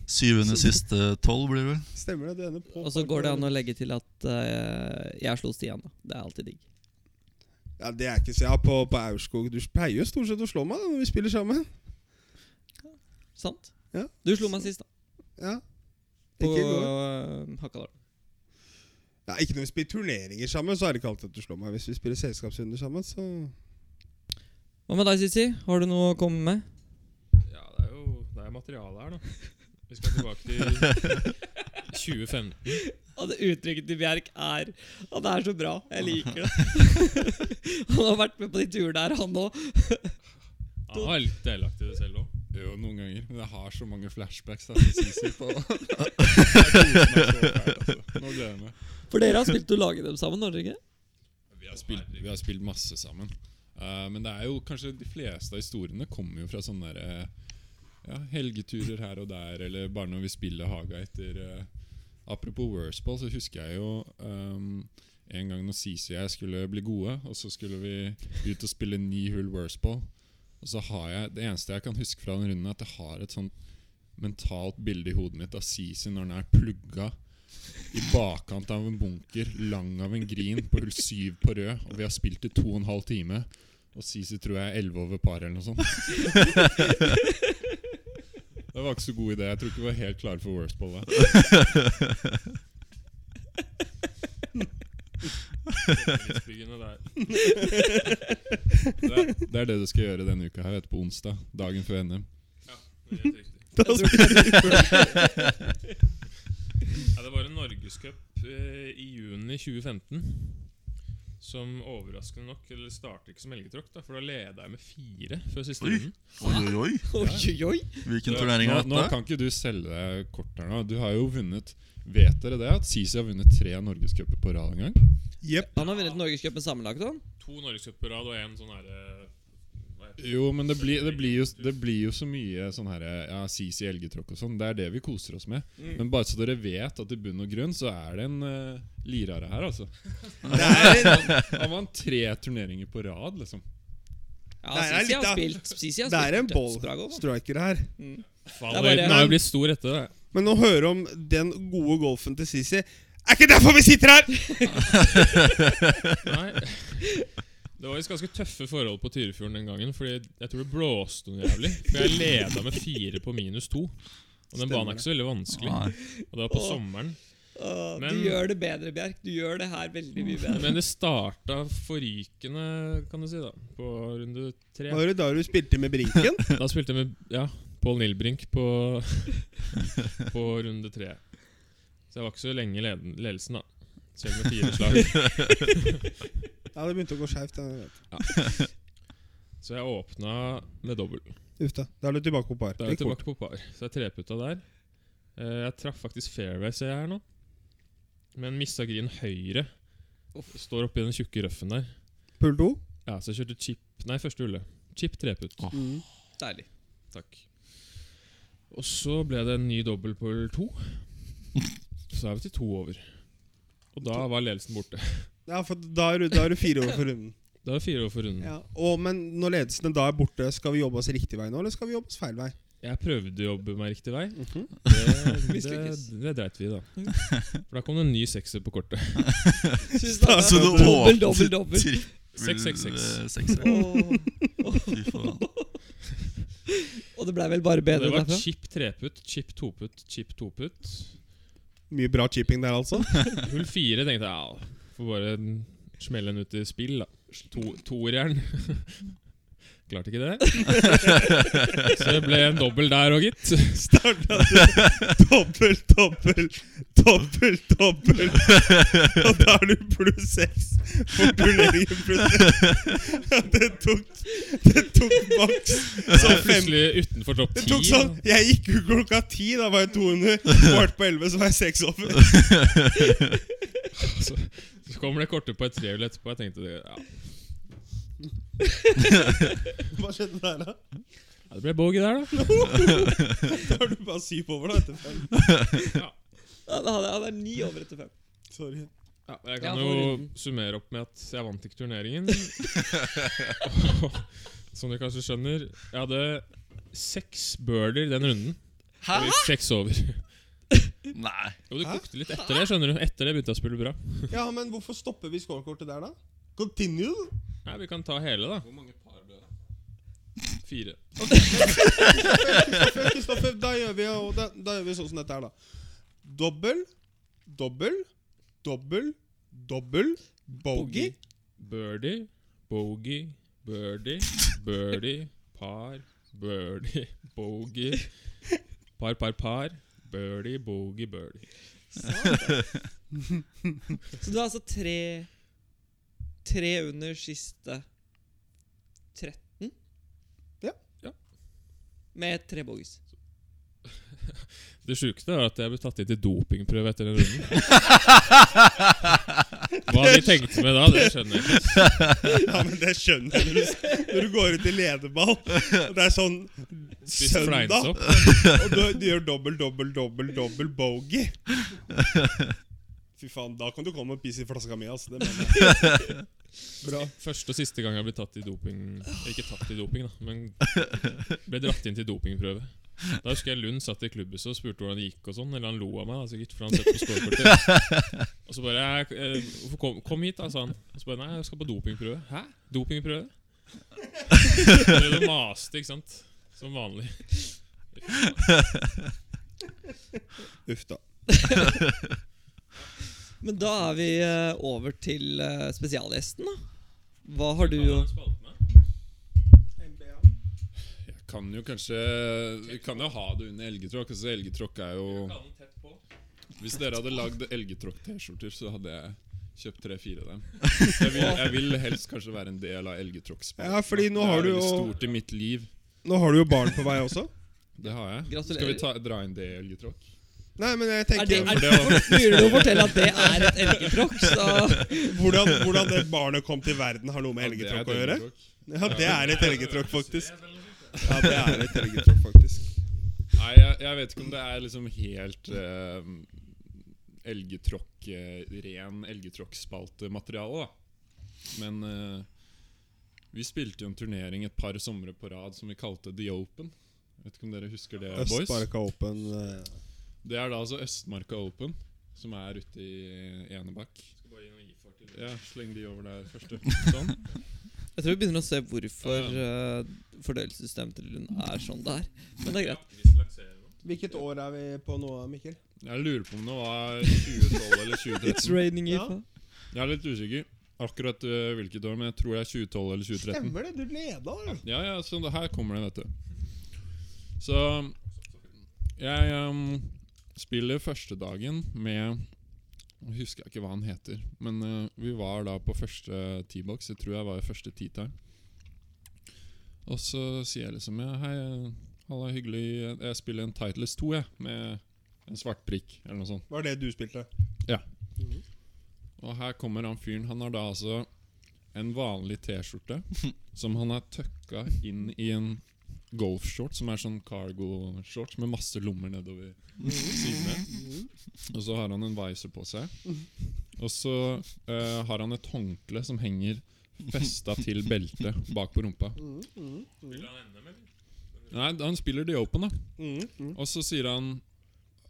D: syv under siste tolv, blir det vel.
C: Stemmer det. Du ender på
A: Og så går det an å legge til at eh, jeg slo Stian, da. Det er alltid digg.
C: Ja, Det er ikke så ja, på, på Aurskog. Du pleier jo stort sett å slå meg da når vi spiller sammen.
A: Sant?
C: Ja.
A: Du slo meg sist, da.
C: Ja.
A: På
C: Ikke, i går.
A: eh, Hakadal.
C: Nei, ikke når vi spiller turneringer sammen, så er det ikke alltid at du slår meg. Hvis vi spiller selskapsrunder sammen, så
A: Hva med deg, Sissi? Har du noe å komme med?
E: Ja, det er jo det er materiale her, da. Vi skal tilbake til 2015.
A: Og det uttrykket til Bjerk er Og det er så bra. Jeg liker det. han har vært med på de turene der, han òg.
E: Han var litt delaktig i det selv òg.
B: Jo, noen ganger. Men jeg har så mange flashbacks. Da, til Sisi på. Jeg koser meg så fælt, altså. Nå gleder jeg meg.
A: For dere har spilt og laget dem sammen, har dere ikke?
B: Vi har spilt, vi har spilt masse sammen. Eh, men det er jo kanskje de fleste av historiene kommer jo fra sånne der, eh, ja, helgeturer her og der, eller bare når vi spiller haga etter eh, Apropos Worstball, så husker jeg jo ehm, en gang når Sisi og jeg skulle bli gode, og så skulle vi ut og spille ni hull Worstball. Og så har jeg, Det eneste jeg kan huske fra den runden, er at jeg har et sånt mentalt bilde i hodet mitt av Sisi når han er plugga i bakkant av en bunker, lang av en grin, på hull syv på rød, og vi har spilt i to og en halv time. Og Sisi tror jeg er elleve over par eller noe sånt. Det var ikke så god idé. Jeg tror ikke vi var helt klare for worstballet.
E: Livsbyggende der.
B: Det, er- det er det du skal gjøre denne uka her, etterpå onsdag. Dagen før NM.
E: Det er helt riktig.
A: Jeg tror-
E: Ja, det var en norgescup eh, i juni 2015 som overraskende nok Eller startet ikke som helgetråkk, da, for da leda jeg med fire før siste
D: Oi.
E: runden.
D: Oi, oi, oi.
A: Oi, oi, oi.
D: Hvilken
E: Ja,
D: turnering
B: Nå,
D: er
B: nå
D: dette?
B: kan ikke du selge deg kort her nå. Du har jo vunnet Vet dere det? At Sisi har vunnet tre norgescuper på rad en gang?
C: Jepp.
A: Han har vunnet Norgescupen sammenlagt, han.
E: To norgescuper på rad og én sånn herre hva heter det?
B: Jo, men det blir, det blir, jo, det blir jo så mye sånn her Ja, Sisi elgetråkk og sånn. Det er det vi koser oss med. Men bare så dere vet at i bunn og grunn så er det en uh, lirare her, altså.
C: Det er en,
B: Han vant tre turneringer på rad, liksom.
A: Ja,
C: Det er
A: Sissi
C: litt
A: har
C: av-
A: spilt Sissi har
C: det er
A: spilt
C: en
A: dødsbra golf, altså. han.
C: ballstriker her.
E: Faen,
A: Det er bare-
E: Løypen har jo blitt stor etter det.
C: Men å høre om den gode golfen til Sisi Er ikke derfor vi sitter her!
E: Nei. Det var visst ganske tøffe forhold på Tyrifjorden den gangen. Fordi jeg tror det blåste noe jævlig. For jeg leda med fire på minus to. Og den banen er ikke så veldig vanskelig.
D: Nei.
E: Og det var på
A: Åh.
E: sommeren.
A: Åh,
E: Men-
A: Du gjør det bedre, Bjerk. Du gjør det her veldig mye bedre.
E: Men det starta forrykende, kan du si, da. På runde tre.
C: Var det da du spilte med brinken?
E: Da spilte jeg med ja, Pål Nilbrink på, på runde tre. Så jeg var ikke så lenge i leden- ledelsen, da. Selv med fire slag.
C: Ja, det begynte å gå skeivt. ja, jeg vet.
E: Så jeg åpna med dobbel.
C: Uff da. Da er du tilbake på par.
E: Da er jeg
C: Det gikk fort.
E: tilbake på par. Så jeg treputta der. Eh, Jeg traff faktisk fairway, ser jeg her nå. Men mista green høyre. Står oppi den tjukke røffen der.
C: Pull to.
E: Ja, Så jeg kjørte chip Nei, første hullet. Chip treputt.
C: Mm.
A: Deilig.
E: Takk. Og så ble det en ny dobbel på hull to. Så er vi til to over. Og da var ledelsen borte.
C: Ja, for da er, du, da er du fire over for runden.
E: Da er fire år forunden.
C: Ja. Og, men når ledelsene da er borte, skal vi jobbe oss riktig vei nå, eller skal vi jobbe oss feil vei?
E: Jeg prøvde å jobbe meg riktig vei.
C: Mhm.
E: Det, det,
C: Mislykkes.
E: det dreit vi i, da. For da kom det en ny sekser på kortet.
A: Tusen
D: Da,
A: takk.
D: så du
A: Dobbel,
D: åpnet
A: dobbel, dobbel.
D: trippel,
E: Seks, seks, seks.
D: eh, sekser.
A: Åh.
D: Fy faen.
A: Og det ble vel bare
E: Og
A: bedre
E: Det var
A: derfra?
E: chip treputt, chip toputt, chip toputt.
C: Mye bra chipping der, altså.
E: Hull fire tenkte jeg ja, får bare smelle den ut i spill, da. To, toeren. Klarte ikke det. Så det ble en dobbel der òg, gitt.
C: Starta dobbel, dobbel, dobbel, dobbel. Og da er du pluss seks for turneringen pluss seks. Ja, det tok Det tok maks
E: Så
C: sånn fem
E: plutselig utenfor topp
C: det
E: ti.
C: tok sånn, Jeg gikk ut klokka ti, da var jeg 200. Kvart på 11, så var jeg seks over.
E: Så, så kommer det kortet på et trehjul etterpå. Jeg tenkte det, ja.
C: Hva skjedde der, da?
E: ja, det ble bogey der, da.
C: Da er du bare syv over, da. Etter fem.
A: Ja, da hadde jeg- det er ni over etter fem.
C: Sorry.
E: Ja, men jeg
A: Ja,
E: kan
A: for
E: jo
A: runden.
E: summere opp med at jeg vant ikke turneringen. Som dere kanskje skjønner, jeg hadde seks birdier den runden. Hæ? Seks over. Jo,
D: Nei.
E: det
C: Hæ?
E: kokte litt etter det, skjønner du. Etter det begynte jeg å spille bra.
C: Ja, men hvorfor stopper vi scorekortet der, da? Continue.
E: Nei, vi kan ta hele, da. Hvor mange par ble det? Fire.
C: Kristoffer, Kristoffer, da gjør vi, og da, da gjør vi sånn som dette her, da. Dobbel, dobbel, dobbel, dobbel, bogey.
E: Birdie, bogey, birdie, birdie, par, birdie, bogey, par, par, par, birdie, bogey, birdie.
A: Så du er altså tre Tre under siste 13?
C: Ja.
E: Ja.
A: Med tre bogies.
E: Det sjukeste var at jeg ble tatt inn til dopingprøve etter den runden. Hva de tenkte med da, det skjønner jeg ikke.
C: Ja, men det skjønner jeg når du, når du går ut i ledeball. Og det er sånn
E: Spist
C: søndag,
E: fleinsopp.
C: og du, du gjør dobbel, dobbel, dobbel, dobbel bogey. Fy faen, da kan du komme og pisse i flaska mi, ass. Det mener jeg. Bra.
E: Første og siste gang jeg ble tatt i doping Ikke tatt i doping, da, men ble dratt inn til dopingprøve. Da husker jeg Lund satt i klubbhuset og spurte hvordan det gikk. og sånn Eller han lo av meg, da, sikkert, for han sett på scorekortet. Og så bare jeg, eh, hvorfor kom, 'Kom hit', da, sa han. Og så bare 'Nei, jeg skal på dopingprøve'. Hæ? Dopingprøve? Dere maste, ikke sant? Som vanlig.
C: Uff da.
A: Men da er vi eh, over til eh, spesialgjesten, da. Hva har du å
B: Jeg kan jo kanskje Vi kan jo ha det under elgetråkk. Altså, elgetråkk er jo Hvis dere hadde lagd elgetråkk-T-skjorter, så hadde jeg kjøpt tre-fire av dem. Jeg vil, jeg vil helst kanskje være en del av elgetråkkspillet.
C: Ja, fordi nå har du
B: Det er veldig
C: jo
B: stort i mitt liv.
C: Nå har du jo barn på vei også.
B: Det har jeg.
A: Gratulerer.
B: Skal vi ta, dra inn det i elgetråkk?
C: Nei, men jeg
A: Er
C: tenker
A: det, er
B: for
A: det,
B: det var-
A: Lurer du å fortelle at det er et elgetråkk, så
C: Hvordan, hvordan det barnet kom til verden har noe med elgetråkk å gjøre? Ja, det er et elgetråkk, faktisk. Ja, det er et elgetråkk, faktisk.
B: Nei, jeg, jeg vet ikke om det er liksom helt uh, elgetråkk, eh, ren elgetråkkspaltemateriale, da. Men eh, vi spilte jo en turnering et par somre på rad som vi kalte The Open. Vet ikke om dere husker det, boys?
C: Østmarka Open.
B: Det er da altså Østmarka Open, som er ute i Enebakk. Ja, sleng de over der først, du. Sånn.
A: Jeg tror vi begynner å se hvorfor eh, fordøyelsessystemet til Lund er sånn det er. Men det er greit.
C: Hvilket år er vi på nå, Mikkel?
B: Jeg lurer på om det var 2012 eller 2013.
A: raining
C: Ja.
B: Jeg er litt usikker akkurat eh, hvilket år, men jeg tror det er 2012 eller 2013.
C: Stemmer det, du leda, du.
B: Ja, ja, så det her kommer det, vet du. Så jeg ehm, spiller første dagen med Nå husker jeg ikke hva han heter, men eh, vi var da på første T-box. Jeg tror jeg var i første T-time. Og så sier jeg liksom ja, Hei, eh, halla, hyggelig. Jeg spiller en Titles 2, jeg, med en svart prikk eller noe sånt.
C: Var det du spilte?
B: Og her kommer han fyren. Han har da altså en vanlig T-skjorte som han har tøkka inn i en golfshorts, som er sånn cargo-shorts med masse lommer nedover sidene. Og så har han en visor på seg. Og så eh, har han et håndkle som henger Festa til beltet bak på rumpa.
E: Spiller han NM, eller?
B: Nei, han spiller The Open, da.
C: Mm, mm.
B: Og så sier han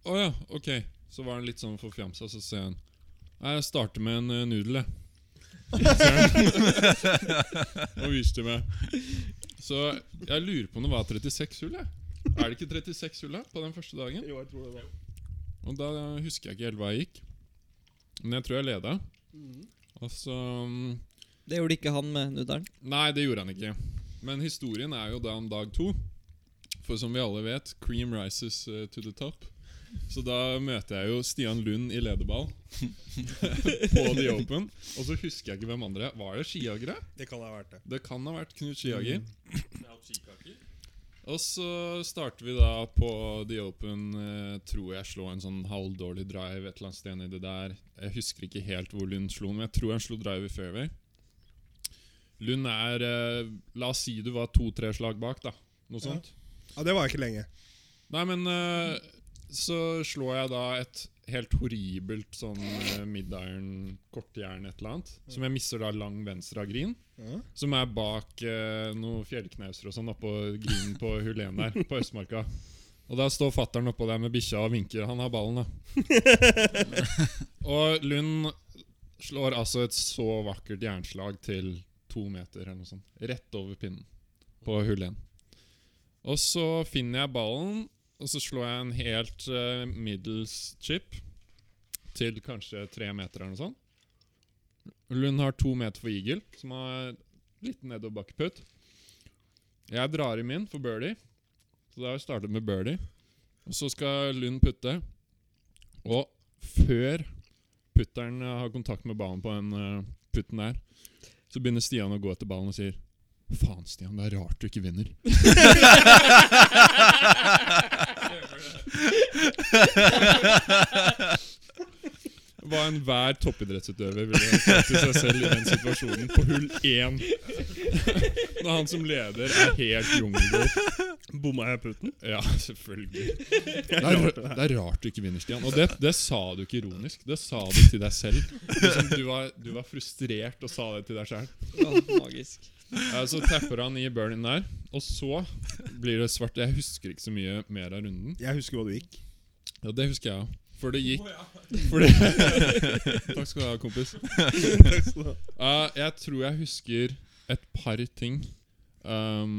B: Å ja, ok. Så var han litt sånn forfjamsa, så sier han Nei, jeg starter med en eh, nudel, jeg. og viste meg. Så jeg lurer på om det var 36 hull, jeg. Er det ikke 36 hull da, på den første dagen?
C: Jo, jeg tror det var.
B: Og da husker jeg ikke helt hva jeg gikk. Men jeg tror jeg leda. Og så mm,
A: Det gjorde ikke han med nudelen.
B: Nei, det gjorde han ikke. Men historien er jo da om dag to. For som vi alle vet, cream rises eh, to the top. Så da møter jeg jo Stian Lund i lederball på The Open. Og så husker jeg ikke hvem andre. Var det skiagere?
C: Det kan ha vært det. Mm.
B: Det kan ha vært Knut Skiager.
E: Det er Altkikaker.
B: Og så starter vi da på The Open. eh, tror jeg slå en sånn halvdårlig drive et eller annet sted nedi der. Jeg husker ikke helt hvor Lund slo den, men jeg tror han slo drive i fairway. Lund er eh, La oss si du var to-tre slag bak, da. Noe
C: Ja.
B: sånt.
C: Ja, Det var ikke lenge.
B: Nei, men eh, så slår jeg da et helt horribelt sånn uh, midiron, kortjern, et eller annet. Som jeg misser da lang venstre av green.
C: Ja.
B: Som er bak eh, noen fjellknauser og sånn oppå grinen på hull 1 der, på Østmarka. Og da står fattern oppå der med bikkja og vinker. Han har ballen, da. og Lund slår altså et så vakkert jernslag til to meter eller noe sånt. Rett over pinnen på hull 1. Og så finner jeg ballen, og så slår jeg en helt eh, middels chip til kanskje tre meter eller noe sånt. Lund har to meter for eagle, som har litt nedoverbakkeputt. Jeg drar i min for birdie, så da har jeg startet med birdie. Og så skal Lund putte, og før putteren eh, har kontakt med ballen på den eh, putten der, så begynner Stian å gå etter ballen og sier Faen, Stian, det er rart du ikke vinner. Hva enhver toppidrettsutøver ville sagt til seg selv i den situasjonen, på hull én. Når han som leder er helt jungelgolf.
C: Bomma jeg putten?
B: Ja, selvfølgelig. Det er, rart, det er rart du ikke vinner, Stian. Og det, det sa du ikke ironisk. Det sa du til deg selv. Liksom, du, var, du var frustrert og sa det til deg sjøl.
A: Ja, magisk.
B: Så tapper han i burn-in der, og så blir det svart. Jeg husker ikke så mye mer av runden.
C: Jeg husker hva du gikk.
B: Ja, det husker jeg òg. For det gikk
E: Å, ja.
B: for det- Takk skal du ha, kompis.
C: Takk skal du ha.
B: Eh, jeg tror jeg husker et par ting. Um,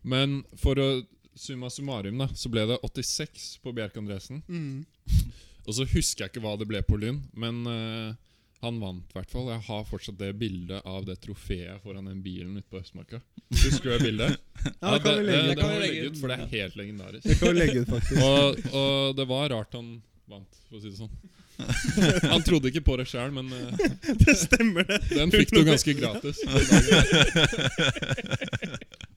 B: men for å summa summarum, da, så ble det 86 på Bjerke Andresen.
C: Mm.
B: Og så husker jeg ikke hva det ble på Lund, men eh, han vant i hvert fall. Jeg har fortsatt det bildet av det trofeet foran den bilen ute på Østmarka. Husker du det bildet?
C: Ja, det kan vi legge
B: det,
C: ut.
B: det kan vi legge ut, for det er helt legendarisk.
C: Det kan vi legge ut, faktisk.
B: Og, og det var rart han vant, for å si det sånn. Han trodde ikke på det sjøl, men eh,
C: Det stemmer, det.
B: den fikk du ganske gratis.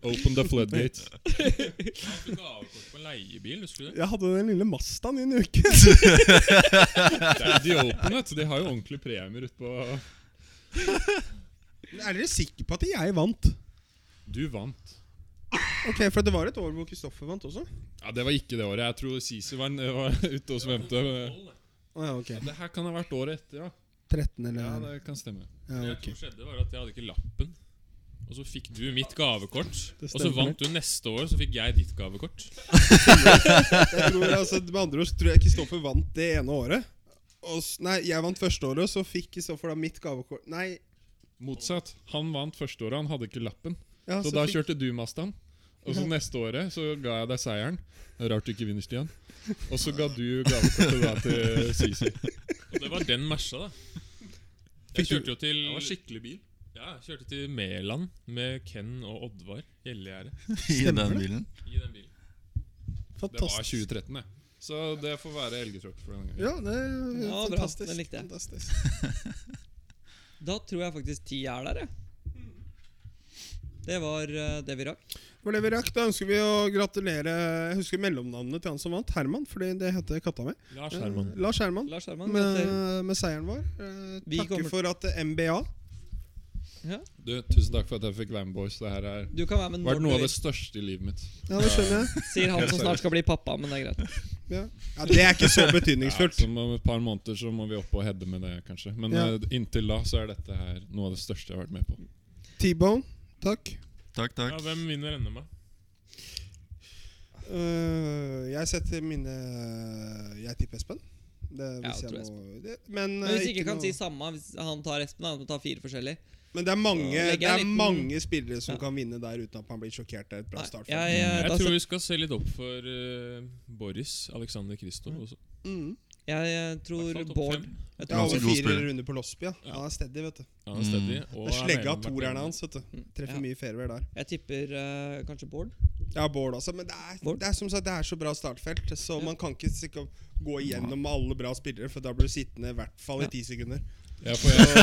B: Open the floodgate.
E: Han fikk gavekort på en leiebil, husker du det?
C: Jeg hadde den lille Mazdaen i en uke.
B: Det er The Open, vet du. De har jo ordentlige premier utpå
C: Er dere sikre på at jeg vant?
B: Du vant.
C: Ok, For det var et år hvor Kristoffer vant også.
B: Ja, Det var ikke det året. Jeg tror Sisi var, var ute og svømte. men-
C: Å ja, ok.
B: Det her kan ha vært året etter, Mm. ja.
C: 13 eller
B: Ja, Det kan stemme.
C: ja,
E: Det
C: ok.
E: som skjedde, var at jeg hadde ikke lappen. Og så fikk du mitt gavekort.
C: Det
E: Og så
C: stemmer.
E: vant du neste år, så fikk jeg ditt gavekort.
C: Jeg tror, altså, Med andre ord så tror jeg Kristoffer vant det ene året. Og, s- nei, jeg vant første året, og så fikk Kristoffer da mitt gavekort Nei.
B: Motsatt. Han vant første året, han hadde ikke lappen.
C: Ja,
B: Så da
C: Altså, fikk,
B: kjørte du Mazdaen. Og så neste året så ga jeg deg seieren. Rart du ikke vinner, Stian. Og så ga du gavekortet da til Sisi.
E: Og det var den Mersa, da. Jeg
C: Fikk
E: kjørte jo til
B: skikkelig bil.
E: Ja, jeg kjørte til Mæland med Ken og Oddvar Gjellegjerde
D: I
C: Stemmer
D: den
C: det?
D: bilen.
E: i den bilen.
B: Det var
C: fantastisk.
B: 2013, det. Så det får være elgetråkk for den gangen.
C: Ja, det er
A: Ja, bra.
C: fantastisk.
A: Den likte jeg.
C: Fantastisk.
A: Da tror jeg faktisk ti er der, jeg. Det var eh, det vi rakk.
C: Det var det vi rakk. Da ønsker vi å gratulere Jeg husker mellomnavnet til han som vant, Herman, fordi det heter katta mi.
E: Lars
C: Eh,
E: Herman.
C: Lars Herman.
A: Lars Herman. gratulerer.
C: Med, med seieren vår. Eh,
A: Vi
C: Takker
A: kommer-
C: for at eh, MBA
A: Ja.
B: Du, tusen takk for at jeg fikk være med, boys. Det her har
A: Du kan være med
B: vært
A: når
B: noe
A: du
B: av det
A: vil,
B: største i livet mitt.
C: Ja, det skjønner jeg.
A: sier han som snart skal bli pappa. Men det er greit.
C: Ja. ja, Det er ikke så betydningsfullt.
B: Ja, som om et par måneder så må vi opp og heade med det, kanskje. Men
C: Ja.
B: eh, inntil da så er dette her noe av det største jeg har vært med på.
C: T-bone, takk.
D: Takk, takk.
E: Ja, hvem vinner NM, da?
C: Øh, jeg setter mine Jeg tipper Espen. Det,
A: Ja,
C: hvis
A: jeg tror
C: jeg må, det, men,
A: Men
C: øh,
A: hvis ikke kan
C: noe-
A: si samme, hvis han tar Espen, da, han må ta fire forskjellige.
C: men det er mange
A: legger jeg
C: Det er
A: en liten-
C: mange spillere som
A: Ja.
C: kan vinne der uten at man blir sjokkert. Det er et bra
A: Nei,
C: start.
A: jeg, jeg,
E: Jeg
A: da
E: tror
A: set-
E: vi skal se litt opp for eh, Boris Alexander Kristo. også.
C: Mm.
A: jeg, jeg
E: I hvert
A: tror
E: fall topp
A: Bård
E: fem.
A: jeg
C: Jeg
A: tror
C: har
D: Ganske
C: over
A: Bård-
D: god
C: fire
D: spiller.
C: runder på Losby. Ja. Han er steady, vet du.
E: Ja, han er steady. og
C: Det er
E: er
C: slegga
E: medlem
C: av
E: av
C: toerne
E: partiet.
C: hans. vet du
A: Mm.
C: Treffer
A: Ja.
C: mye fairway der.
A: Jeg tipper eh, kanskje Bård.
C: Ja, Bård også. Men det er,
A: Bård?
C: det er som sagt Det er så bra startfelt, så
A: Ja.
C: man kan ikke sikkert gå igjennom alle bra spillere, for da blir du sittende i hvert fall i ti sekunder.
B: Jeg får, jeg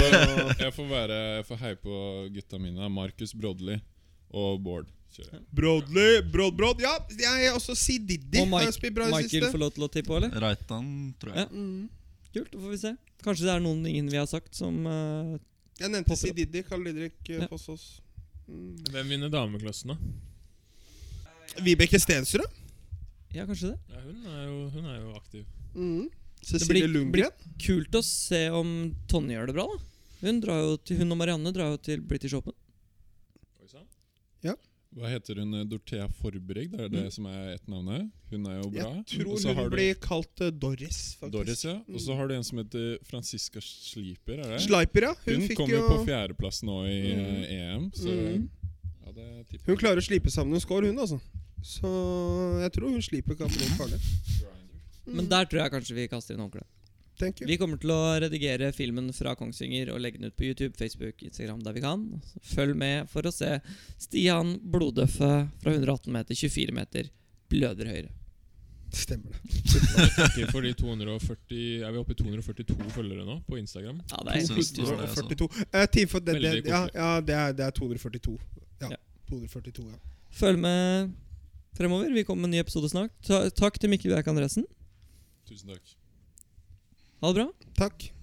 B: får, jeg får, være, jeg får heie på gutta mine. Markus Brodli og Bård. Kjører. jeg.
C: Brodly, Brod, Brod. Ja, jeg er også si Diddy.
A: Og
C: har jo
A: Mike,
C: spilt bra i det
A: Michael
C: siste.
A: får lov til å tippe òg, eller?
D: Reitan, tror jeg.
C: Mm.
A: Kult, da får vi se. Kanskje det er noen ingen vi har sagt som eh,
C: Jeg nevnte
A: Popper
C: si
A: opp.
C: Diddy, Karl Didrik eh,
A: Ja.
C: Fossås. Mm.
E: Hvem vinner dameklassen, da?
C: Vibeke Stensrud.
A: Ja, kanskje det.
E: Ja, hun, er jo, hun er jo aktiv.
C: Mm.
A: blir-
C: Cecilie Lundgren.
A: Kult å se om Tonje gjør det bra, da. Hun, drar jo til, hun og Marianne drar jo til British Open.
E: Oi, sann.
B: Hva heter hun? eh, Dorthea Forbrig? Det er det som er ett navnet. Hun er jo bra.
C: Mm. Jeg
B: Og
C: tror
B: så
C: hun
B: har du
C: blir kalt eh, Doris, faktisk.
B: Doris, ja. Og så har du en som heter Franziska Sliper. Er det?
C: Sleiper, ja. Hun,
B: Hun,
C: fikk
B: kom jo
C: jo
B: på fjerdeplass nå i
C: Mm.
B: eh, EM, så
C: Mm.
B: ja, det er tipp-
C: Hun klarer å slipe sammen en score, hun, altså. Så jeg tror hun sliper kan bli farlig.
A: Men der tror jeg kanskje vi kaster inn håndkleet.
C: Thank you.
A: Vi kommer til å redigere filmen fra Kongsvinger og legge den ut på YouTube, Facebook, Instagram der vi kan. Så Følg med for å se Stian Blodøffe fra 118 meter, 24 meter, bløder høyre.
C: Stemmer det.
E: Ikke for de 240 Er vi oppe i 242 følgere nå på Instagram?
A: Ja, det er
D: Syns du det, altså?
C: 242. Eh, Team for det, det,
E: Veldig
C: ja,
E: koselig.
C: ja, det er, det er 242. Ja.
A: Ja.
C: 242, ja.
A: Følg med fremover. Vi kommer med en ny episode snart. Ta takk til Mikkel Bjerke Andresen.
B: Tusen takk.
A: Ha det bra.
C: Takk.